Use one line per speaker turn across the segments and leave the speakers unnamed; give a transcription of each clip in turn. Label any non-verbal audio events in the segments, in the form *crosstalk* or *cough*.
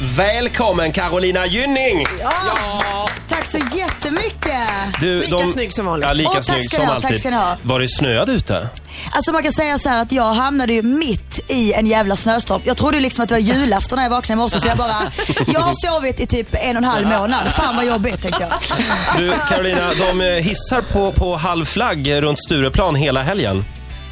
Välkommen Carolina Gynning!
Ja. Tack så jättemycket.
Du,
Lika snygg som vanligt.
Ja, lika
Åh, tack
snygg
ska
som
du ha, tack
alltid.
ska du ha.
Var det snöad ute?
Alltså man kan säga så här att jag hamnade ju mitt i en jävla snöstorm. Jag trodde ju liksom att det var julafton när jag vaknade i morse så jag bara, jag har sovit i typ en och en halv månad. Fan vad jobbigt tänkte jag.
*laughs*
Du, Carolina, de eh, hissar på, på halv flagg eh, runt Stureplan hela helgen.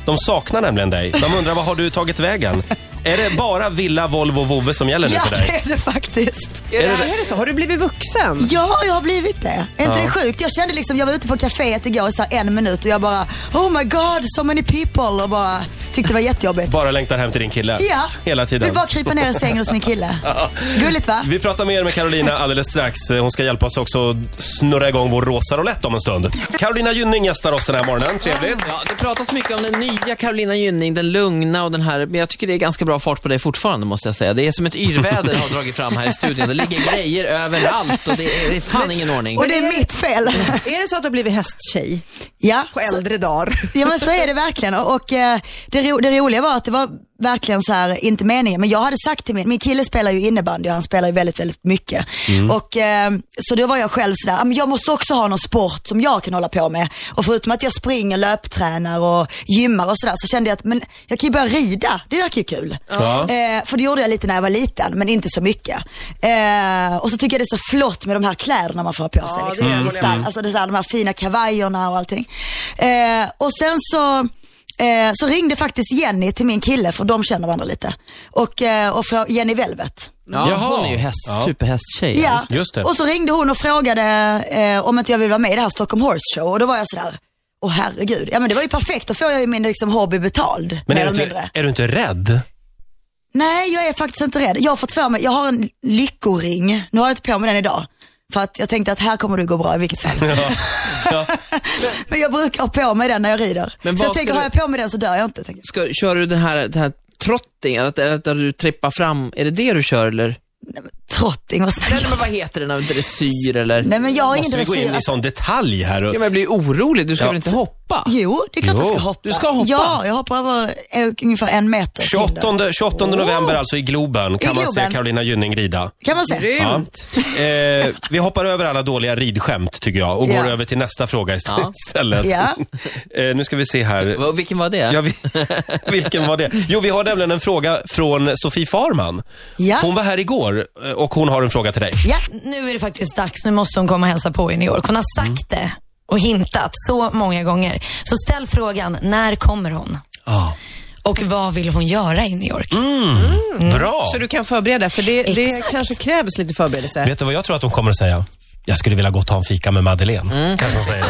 De saknar nämligen dig. De undrar, vad har du tagit vägen? Är det bara villa, Volvo och vovve som gäller nu
Ja
för
det
dig?
är det faktiskt.
Är det, är det så? Har du blivit vuxen?
Ja, jag har blivit det. Är inte det sjukt? Jag kände liksom, jag var ute på kaféet igår i så här en minut och jag bara, oh my god, so many people och bara tyckte det var jättejobbigt.
Bara längtar hem till din kille.
Ja,
Hela tiden.
vill bara krypa ner i sängen hos min kille. Gulligt va?
Vi pratar mer med Carolina alldeles strax. Hon ska hjälpa oss också att snurra igång vår rosa roulette om en stund. Carolina Gynning gästar oss den här morgonen. Trevligt.
Mm.
Ja, det pratas mycket om den nya Carolina Gynning, den lugna och den här, men jag tycker det är ganska bra fart på dig fortfarande måste jag säga. Det är som ett yrväder har dragit fram här i studion. Det ligger grejer överallt och det är, det är fan ingen ordning.
Och det är mitt fel.
*laughs* Är det så att du har blivit hästtjej
Ja,
på
så-
äldre dagar?
*laughs* Ja men så är det verkligen och, och eh, det, ro, det roliga var att det var verkligen så här, inte meningen, men jag hade sagt till min, min kille spelar ju innebandy och han spelar ju väldigt, väldigt mycket.
Mm.
Och, eh, så då var jag själv sådär, "Ah, men jag måste också ha någon sport som jag kan hålla på med. Och förutom att jag springer, löptränar och gymmar och sådär så kände jag att men jag kan ju börja rida, det verkar ju kul.
Ja.
Eh, för det gjorde jag lite när jag var liten, men inte så mycket. Eh, och så tycker jag det är så flott med de här kläderna man får ha på sig.
det
liksom.
är det,
I
håller jag
stark- Alltså det är så här, de här fina kavajerna och allting. Eh, och sen så, eh, så ringde faktiskt Jenny till min kille, för de känner varandra lite. Och, eh, och frå- Jenny Velvet.
Ja,
Jaha.
hon är ju häst,
Ja.
superhästtjej.
Ja.
just det.
Och så ringde hon och frågade eh, om inte jag ville vara med i det här Stockholm Horse Show. Och då var jag sådär, åh herregud. Ja men det var ju perfekt, då får jag ju min liksom, hobby betald.
Men
mer
är du,
eller
inte,
mindre.
är du inte rädd?
Nej, jag är faktiskt inte rädd. Jag har fått för mig, jag har en lyckoring. Nu har jag inte på mig den idag. För att jag tänkte att här kommer det gå bra i vilket fall.
Ja.
*laughs* Men jag brukar ha på mig den när jag rider.
Men
så jag
vad
tänker,
ska
har jag på mig den så dör jag inte. Tänker. jag.
Ska, kör du den här, den här trotting, eller att- eller att du trippar fram, är det det du kör eller?
Trotting, vad snackar
Eller
jag
men vad heter det, när dressyr eller?
Nej men jag har ingen
Måste vi gå in
dressyr.
i sån detalj här?
Ja, men jag blir orolig, du ska väl inte hoppa?
Jo, det är klart jag ska
Jo,
hoppa.
du ska hoppa.
Ja, jag hoppar över eh, ungefär en meter.
28, 28 november alltså i Globen kan
I
man se
Globen.
Carolina Gynning rida.
Kan man säga.
Ja.
Grymt.
*laughs* Eh, vi hoppar över alla dåliga ridskämt tycker jag och går
Ja.
över till nästa fråga ist-
Ja.
istället.
Ja.
*laughs* Eh, nu ska vi se här.
Va- Vilken var det?
Ja, *laughs* vi, vilken var det? Jo, vi har nämligen en fråga från Sofie Farman.
Ja.
Hon var här igår eh, och hon har en fråga till dig.
Ja.
nu är det faktiskt dags. Nu måste hon komma och hälsa på i New York. Hon har sagt det och hintat så många gånger. Så ställ frågan, när kommer hon? Och vad vill hon göra i New York?
Ah, Bra!
Mm. Så du kan förbereda, för det, det
Exakt.
kanske krävs lite förberedelse.
Vet du vad jag tror att hon kommer att säga? Jag skulle vilja gå och ta en fika med Madeleine.
Mm.
Kanske hon
*laughs*
säger.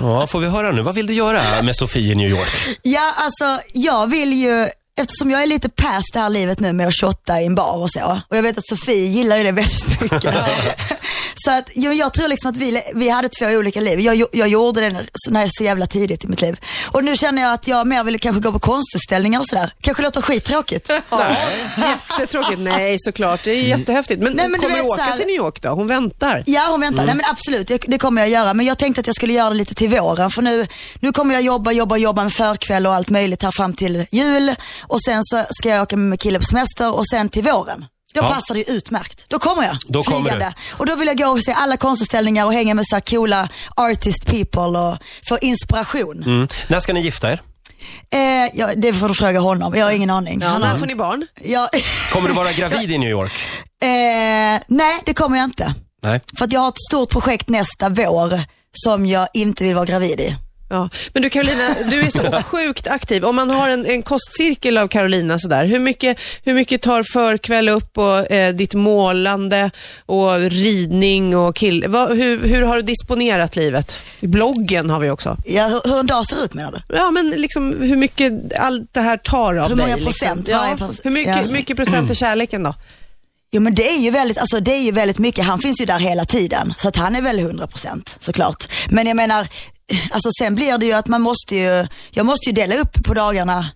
ja, får vi höra nu. Vad vill du göra med Sofie i New York?
Ja, alltså jag vill ju, eftersom jag är lite past det här livet nu med att shotta i en bar och så. Och jag vet att Sofie gillar ju det väldigt mycket. så att jo, jag tror liksom att vi, vi hade två olika liv. Jag, jag gjorde det när, när jag så jävla tidigt i mitt liv. Och nu känner jag att jag mer vill kanske gå på konstutställningar och sådär. Kanske låter skittråkigt.
Jättetråkigt. Nej, såklart. Det är jättehäftigt. Men,
Nej, men du
kommer
vet
du åka
så här-
till New York då? Hon väntar.
Ja, hon
Mm.
väntar. Nej men absolut, det- det kommer jag göra. Men jag tänkte att jag skulle göra det lite till våren. För nu, nu kommer jag jobba, jobba, jobba med förkväll och allt möjligt här fram till jul. Och sen så ska jag åka med killen på semester och sen till våren. Då
Ja.
passar det ju utmärkt. Då kommer jag
Då kommer
flygande. och då vill jag gå och se alla konstutställningar och hänga med så här coola artist people och få inspiration.
Mm. När ska ni gifta er?
Eh, ja, det får du fråga honom, jag har ingen aning.
Ja,
Han
när
har,
får ni barn?
jag,
Kommer du vara gravid i New York?
*laughs* eh, nej, det kommer jag inte.
Nej.
För att jag har ett stort projekt nästa vår som jag inte vill vara gravid i.
Ja. Men du Carolina, du är *laughs* så sjukt aktiv. Om man har en, en kostcirkel av Carolina sådär, hur mycket, hur mycket tar förkväll upp och eh, ditt målande och ridning och kill... Vad- hur, hur har du disponerat livet? Bloggen har vi också.
Ja, hur, hur en dag ser ut menar du?
Ja, men liksom hur mycket allt det här tar av
Hur
dig.
många
Liksom.
procent?
Ja,
Varje procent?
hur mycket,
Ja. Mm.
hur mycket procent är kärleken då?
Jo men det är ju väldigt, alltså det är ju väldigt mycket, han finns ju där hela tiden. Så att han är väl 100% såklart. Men jag menar, alltså sen blir det ju att man måste ju, jag måste ju dela upp på dagarna.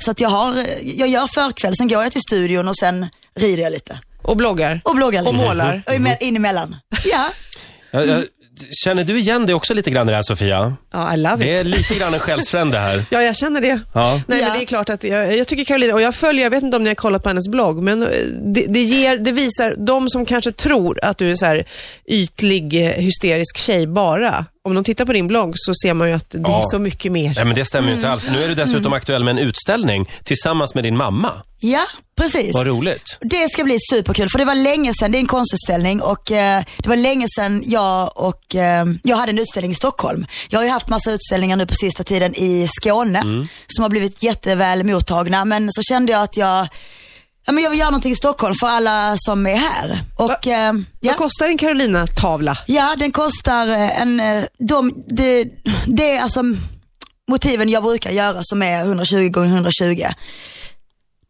Så att jag har, jag gör förkväll, sen går jag till studion och sen rider jag lite.
Och bloggar?
Och bloggar
Och
lite.
målar.
Och ime- inemellan. Ja,
Jag, jag Känner du igen det också lite grann i det här Sofia?
Ja, I love it.
Det är lite grann en själsfrände här.
Ja, jag känner det.
Ja.
Nej,
Ja.
men det är klart att jag, jag tycker Carolina, och jag följer, jag vet inte om ni har kollat på hennes blogg, men eh, det, det, ger, det visar de som kanske tror att du är så här ytlig, eh, hysterisk tjej bara. Om de tittar på din blogg så ser man ju att det
Ja.
är så mycket mer.
Nej men det stämmer ju inte alls. Nu är du dessutom aktuell med en utställning tillsammans med din mamma.
Ja, precis.
Vad roligt.
Det ska bli superkul för det var länge sedan, det är en konstutställning och eh, det var länge sedan jag och eh, jag hade en utställning i Stockholm. Jag har ju haft massa utställningar nu på sista tiden i Skåne
Mm.
som har blivit jätteväl mottagna men så kände jag att jag, ja, men jag vill göra någonting i Stockholm för alla som är här. Och, eh, ja.
Vad kostar en Carolina-tavla?
Ja, den kostar eh, en, eh, de, det, det är alltså motiven jag brukar göra som är 120 gånger 120.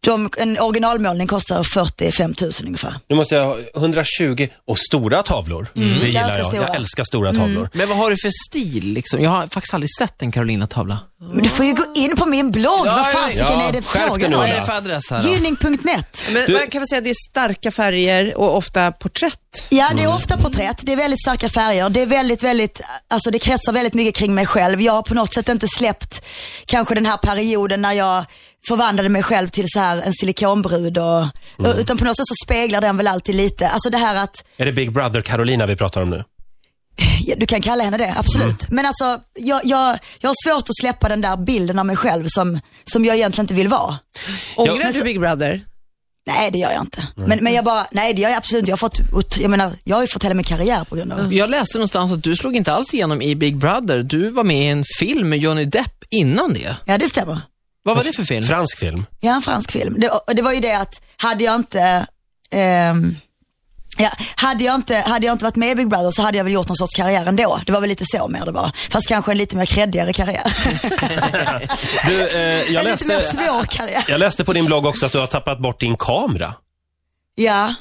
De, en originalmålning kostar 45 000 ungefär.
Nu måste jag ha 120 och stora tavlor. Det gillar
Ganska
Mm. jag. Jag
stora.
älskar stora Mm. tavlor.
Men vad har du för stil liksom? Jag har faktiskt aldrig sett en Carolina-tavla.
Men Mm. du får ju gå in på min blogg,
Ja,
vad fasiken
ja, ja.
är det
Skärp dig
frågan
nu,
Vad är
Ulla.
om?
det för adress här då?
Gynning.net.
Men
Du-
man kan väl säga att det är starka färger och ofta porträtt.
Ja, det är
Mm.
ofta porträtt, det är väldigt starka färger, det är väldigt, väldigt, alltså det kretsar väldigt mycket kring mig själv. Jag har på något sätt inte släppt kanske den här perioden när jag förvandlade mig själv till så här en silikonbrud
Mm.
och, utan på något sätt så speglar den väl alltid lite, alltså det här att,
Är det Big Brother Carolina vi pratar om nu?
ja, du kan kalla henne det, absolut.
Mm.
Men alltså, jag, jag, jag har svårt att släppa den där bilden av mig själv som, som jag egentligen inte vill vara.
Ångrar
men
du Big Brother?
Nej det gör jag inte. Men, men jag bara, nej det gör jag absolut inte. Jag har fått, ot- jag menar, jag har ju fått hela min karriär på grund av det.
Jag läste någonstans att du slog inte alls igenom i Big Brother. Du var med i en film med Johnny Depp innan det.
Ja det stämmer.
Vad var det för film?
Fransk film.
Ja, en fransk film. Det, och det var ju det att hade jag inte ehm, Ja, hade, jag inte, hade jag inte varit med i Big Brother så hade jag väl gjort någon sorts karriär ändå. Det var väl lite så mer det var. Fast kanske en lite mer kreddigare karriär.
Du, *laughs* eh, jag,
*laughs* en lite mer
läste,
svår karriär.
jag läste på din blogg också att du har tappat bort din kamera.
Ja,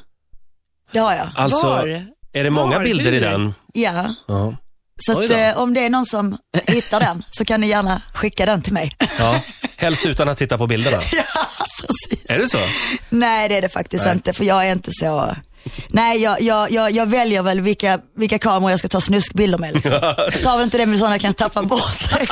det har jag.
Alltså,
Var?
är det många
Var?
bilder i
Luleå?
den?
Ja.
Ja.
Så
Oj
att,
då.
eh, om det är någon som hittar den så kan ni gärna skicka den till mig.
ja. Helst utan att titta på *laughs* bilderna.
ja, precis.
Är det så?
Nej det är det faktiskt inte för jag är inte så. Nej jag, jag, jag, jag väljer väl vilka, vilka kameror jag ska ta snuskbilder
*laughs*
med. Liksom. Jag tar väl inte det med sådana jag kan tappa bort direkt.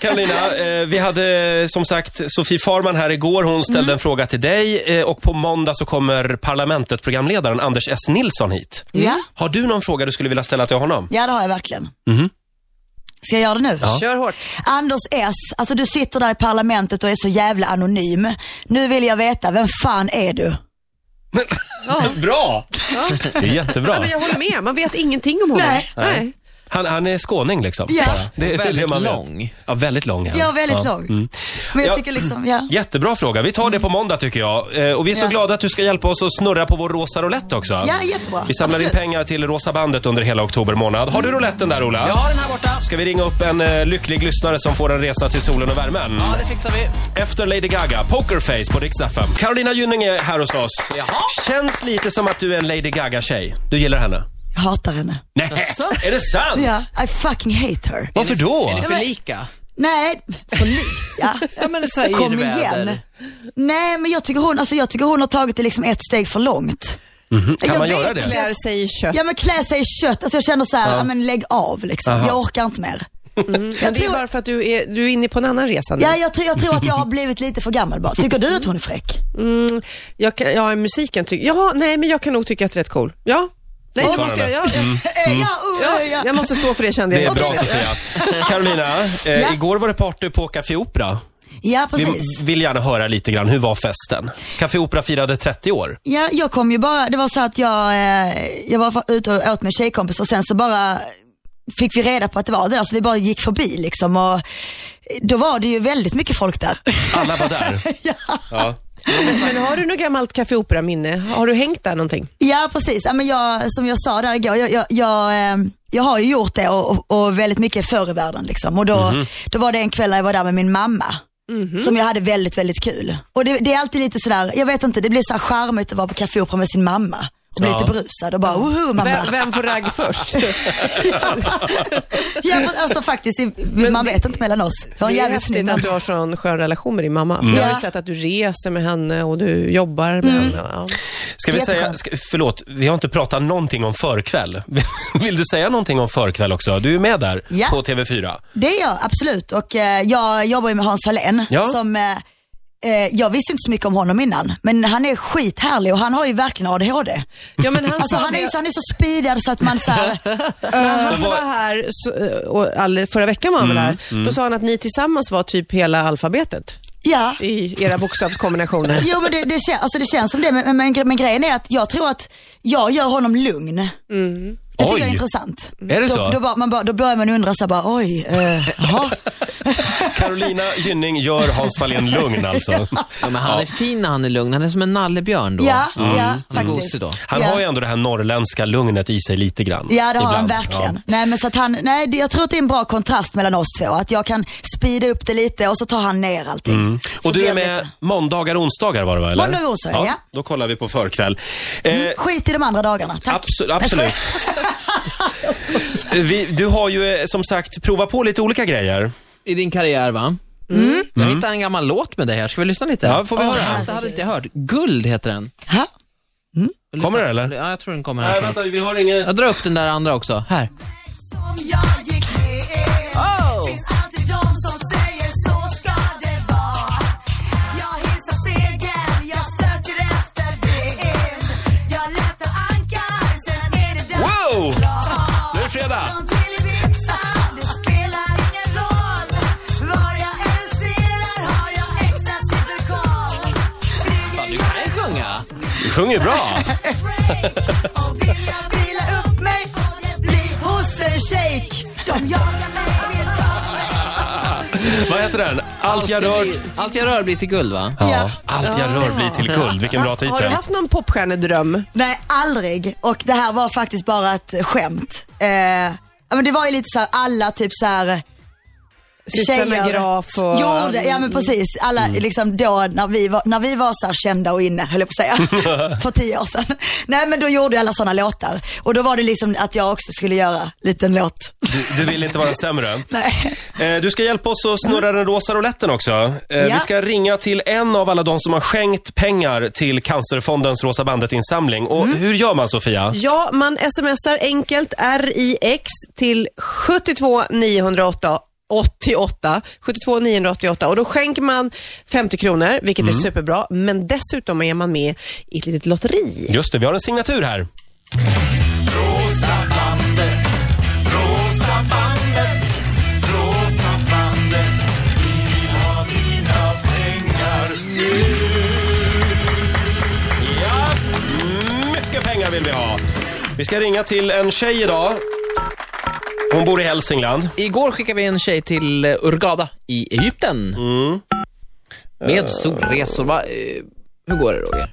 Karolina, eh, vi hade eh, som sagt Sofie Farman här igår. Hon ställde en fråga till dig eh, och på måndag så kommer Parlamentet-programledaren Anders S. Nilsson hit.
Ja.
Har du någon fråga du skulle vilja ställa till honom?
ja det har jag verkligen. Ska jag göra det nu?
Mhm. Ja.
Kör hårt.
Anders S, alltså du sitter där i parlamentet och är så jävla anonym. Nu vill jag veta, vem fan är du?
Bra! Det är jättebra.
Ja, men jag håller med, man vet ingenting om honom.
Nej.
Nej.
Han, han är skåning liksom.
Ja.
bara. Det, är
Väldigt
det man vet.
lång.
Ja, väldigt lång. är han.
Jag är väldigt
Ja. Mm.
lång. Men jag
Ja.
tycker liksom, ja.
Jättebra fråga. Vi tar det på måndag tycker jag. Eh, och vi är så
Ja.
glada att du ska hjälpa oss att snurra på vår rosa roulette också.
Ja, jättebra.
Vi samlar in
Absolut.
pengar till Rosa bandet under hela oktober månad. Har du rouletten där Ola?
Jag har den här borta.
Ska vi ringa upp en eh, lycklig lyssnare som får en resa till solen och värmen?
Ja, det fixar vi.
Efter Lady Gaga, Pokerface på Rix FM. Carolina Gynning är här hos oss.
Jaha.
Känns lite som att du är en Lady Gaga-tjej. Du gillar henne?
Jag hatar henne.
Nej, är det sant?
Ja, I fucking hate her.
Varför då?
Är det för lika?
Nej, för lika.
Ja, men så här
Kom
yrväder.
igen. Nej men jag tycker, hon, alltså jag tycker hon har tagit det liksom ett steg för långt.
Mhm. Kan
jag
man göra
vet
det?
inte.
Klär sig i kött.
Ja men klä sig i kött, alltså jag känner så här, ja. men lägg av liksom. Jag orkar inte mer.
Mm. Men
Jag,
det är
tror,
bara för att du är, du är inne på en annan resa nu.
ja, jag, tror, jag tror att jag har blivit lite för gammal bara. Tycker du att hon är fräck?
Jag kan, ja, musiken tycker Ja, nej, men jag kan nog tycka att det är rätt cool. Ja. Nej, det måste jag, ja,
Eh, Ja, uh,
ja,
ja.
jag måste stå för det kände jag.
Mm. Det är
Okej.
bra
*laughs*
Sofia. Carolina, eh,
Ja.
igår var det party på Café Opera.
ja
Vi
precis.
vill gärna höra lite grann, hur var festen? Café Opera firade 30 år.
Ja, jag kom ju bara, det var så att jag, eh, jag var ute och åt med en tjejkompis och sen så bara fick vi reda på att det var det där, så vi bara gick förbi liksom och då var det ju väldigt mycket folk där.
Alla var där.
*laughs*
ja.
Men har du något gammalt Café Opera-minne? Har du hängt där någonting?
Ja precis, ja, men jag, som jag sa där igår, jag, jag, jag, eh, jag har ju gjort det och, och- och väldigt mycket förr i världen. Liksom. Och då,
Mhm.
då var det en kväll när jag var där med min mamma. Som jag hade väldigt, väldigt kul. Och det, det är alltid lite sådär, jag vet inte, det blir så här charmigt att vara på Café Opera med sin mamma. Och bli
Ja.
lite brusad och bara, woho mamma.
Vem, vem får ragg först?
*laughs* Ja, men alltså faktiskt, i- man vet inte mellan oss. Jag har en
Det är
jävligt snygg
häftigt
mamma.
att du har sån skön relation med din mamma. Jag har ju
Ja. Mm.
sett att du reser med henne och du jobbar med henne. Ja.
Ska vi säga,
Jätteskönt.
ska, förlåt, vi har inte pratat någonting om förkväll. *laughs* Vill du säga någonting om förkväll också? Du är med där
Ja.
på TV4.
Det är jag, absolut. Och eh, jag jobbar ju med Hans Hallén
Ja.
som eh, eh, jag visste inte så mycket om honom innan, men han är skithärlig och han har ju verkligen ADHD.
Ja, men han sa
Alltså han är,
det.
ju så- han är så speedad så att
*laughs*
man såhär,
När han
Vad-
var här, så, eh, och all, förra veckan var han
Mm,
väl här, då sa han att ni tillsammans var typ hela alfabetet
ja.
i
*laughs*
era bokstavskombinationer.
Jo men det, det, kän, alltså, det känns som det, men, men, men grejen är att jag tror att jag gör honom lugn. Det tycker
Mm. Oj.
jag är intressant.
Är det
då,
så?
Då, bara- man bara, då börjar man undra så här, bara, oj, eh, jaha.
Carolina Gynning gör Hans Wallén lugn
*laughs*
alltså.
Ja, men han är fin när han är lugn. Han är som en nallebjörn då.
Ja,
Mm.
ja
Han är
faktiskt.
gosig då.
Han
Ja.
har ju ändå det här norrländska lugnet i sig lite grann.
Ja det har han
Ibland.
verkligen.
Ja.
Nej, men så att han, nej, det- jag tror att det är en bra kontrast mellan oss två. Att jag kan speeda upp det lite och så tar han ner allting. Så
Mm. Och du
blir
är
det
med
lite-
måndagar och onsdagar var det va? Eller?
Måndagar och onsdagar, ja.
Då kollar vi på förkväll. Eh,
Skit i de andra dagarna, tack.
Absolut. absolut.
*laughs*
vi, du har ju eh, som sagt provat på lite olika grejer.
I din karriär va?
Mm.
Mm. Jag hittade en gammal låt med dig här. Ska vi lyssna lite?
Ja, får vi
Åh,
höra?
Det hade inte jag hört. Guld heter den.
Ha? Mm.
Lyssna.
Kommer den, eller?
Ja, jag tror den kommer här. snart.
vi har inget...
Jag drar upp den där andra också. Här.
Oh.
Wow! Nu är det fredag!
Fan, du kan sjunga.
Du sjunger ju bra. Vad heter den? Allt jag rör...
blir- Allt jag rör blir till guld va?
Ja.
Allt jag rör blir till guld. Vilken bra
Har du
titel.
haft någon popstjärnedröm?
Nej, aldrig. Och det här var faktiskt bara ett skämt. Eh, ja, men det var ju lite så här, alla typ så här
Systrarna Graf och...
Jo, det, ja men precis. Alla liksom då när vi var, när vi var så här kända och inne, höll jag på att säga, för tio år sedan. Nej men då gjorde jag alla sådana låtar. Och då var det liksom att jag också skulle göra liten låt.
Du, du vill inte vara sämre.
Nej.
Eh, Du ska hjälpa oss att snurra den rosa rouletten också. Eh,
Ja.
Vi ska ringa till en av alla de som har skänkt pengar till Cancerfondens Rosa Bandet-insamling. Och
Mm.
hur gör man, Sofia?
Ja, man smsar enkelt RIX till 72 908 88, 72 988 och då skänker man 50 kronor, vilket
Mm.
är superbra. Men dessutom är man med i ett litet lotteri.
Just det, vi har en signatur här. Mm,
Rosa bandet, rosa bandet, rosa bandet. Vi vill ha dina pengar nu.
Ja, mycket pengar vill vi ha. Vi ska ringa till en tjej idag. Hon bor i Hälsingland.
Igår skickade vi en tjej till eh, Hurghada i Egypten. Med solresor va? Eh, Hur går det Roger?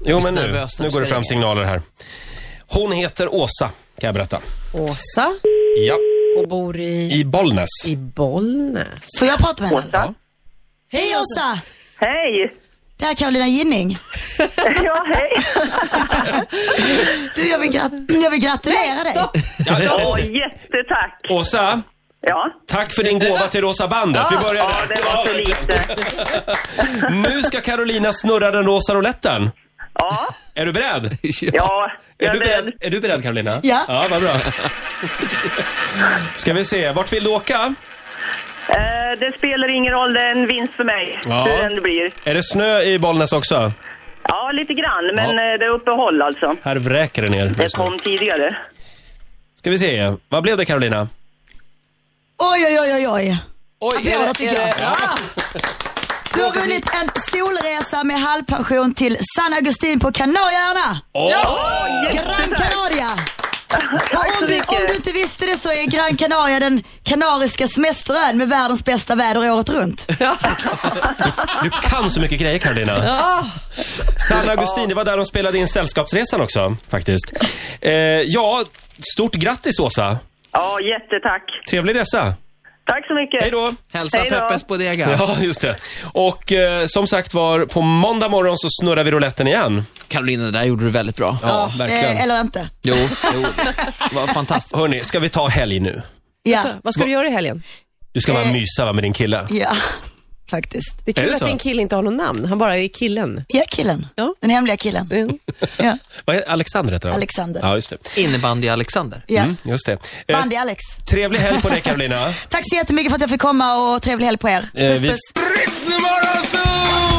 Jo,
Visst
men nu,
nervös när
nu
vi
går det
ska
fram
ringa.
signaler här. Hon heter Åsa, kan jag berätta.
Åsa
Ja,
och bor i,
i Bollnäs.
i Bollnäs.
Får jag prata med henne? Hej Åsa!
Hej! *laughs*
Det här är Carolina Ginning.
Ja, hej!
Du, jag vill, grat- jag vill gratulera dig.
Ja, jättetack!
Åsa,
Ja,
tack för din gåva till Rosa Bandet. Vi börjar
ja
där.
det var så
Ja.
lite.
Nu ska Carolina snurra den rosa rouletten.
Ja,
Är du beredd?
ja,
Är
jag
du
är
beredd,
beredd.
är du beredd Carolina?
Ja.
Ja, vad bra. Ska vi se, vart vill du åka?
Eh, Det spelar ingen roll, det är en vinst för mig,
Ja.
hur den blir.
Är det snö i Bollnäs också?
Ja, lite grann, men eh, det är uppehåll alltså.
Här vräker det ner.
Det kom tidigare.
Ska vi se, vad blev det Carolina?
Oj, oj, oj, oj, oj.
Oj,
Applåder, tycker jag. Du har vunnit en solresa med halvpension till San Agustin på Kanarieöarna.
Åh!
Gran
Jättetack!
Canaria!
*laughs* Tack
Om
så
du, om du
mycket!
inte visste det så är Gran Canaria den kanariska semesterön med världens bästa väder året runt.
Du kan så mycket grejer Carolina. San Agustin, det var där de spelade in Sällskapsresan också faktiskt. Eh, ja, stort grattis Åsa.
Ja, jättetack.
Trevlig resa.
Tack så mycket!
Hej då.
Hälsa
Hej då.
Peppes Bodega.
Ja, just det. Och eh, som sagt var, på måndag morgon så snurrar vi rouletten igen.
Carolina, det där gjorde du väldigt bra.
Ja,
Eh, eller inte.
Jo, jo. Det var fantastiskt.
Hörni, ska vi ta helg nu?
Ja.
Vad ska du göra i helgen?
Du ska bara
Eh.
mysa va, med din kille?
ja. *laughs* faktiskt.
Det är
Är
kul
det
att
så?
din kille inte har någon namn. Han bara är killen.
Ja, killen.
Ja.
Den hemliga killen.
Mm.
Ja.
Vad är Alexander heter han?
Alexander.
Ja, just det.
Innebandy-Alexander.
Ja.
Mm, just det. Eh,
Bandy Alex.
trevlig helg på dig Carolina.
Tack så jättemycket för att jag fick komma och trevlig helg på er.
Eh,
Puss
vi-
puss.
Ritzmorgonzoo!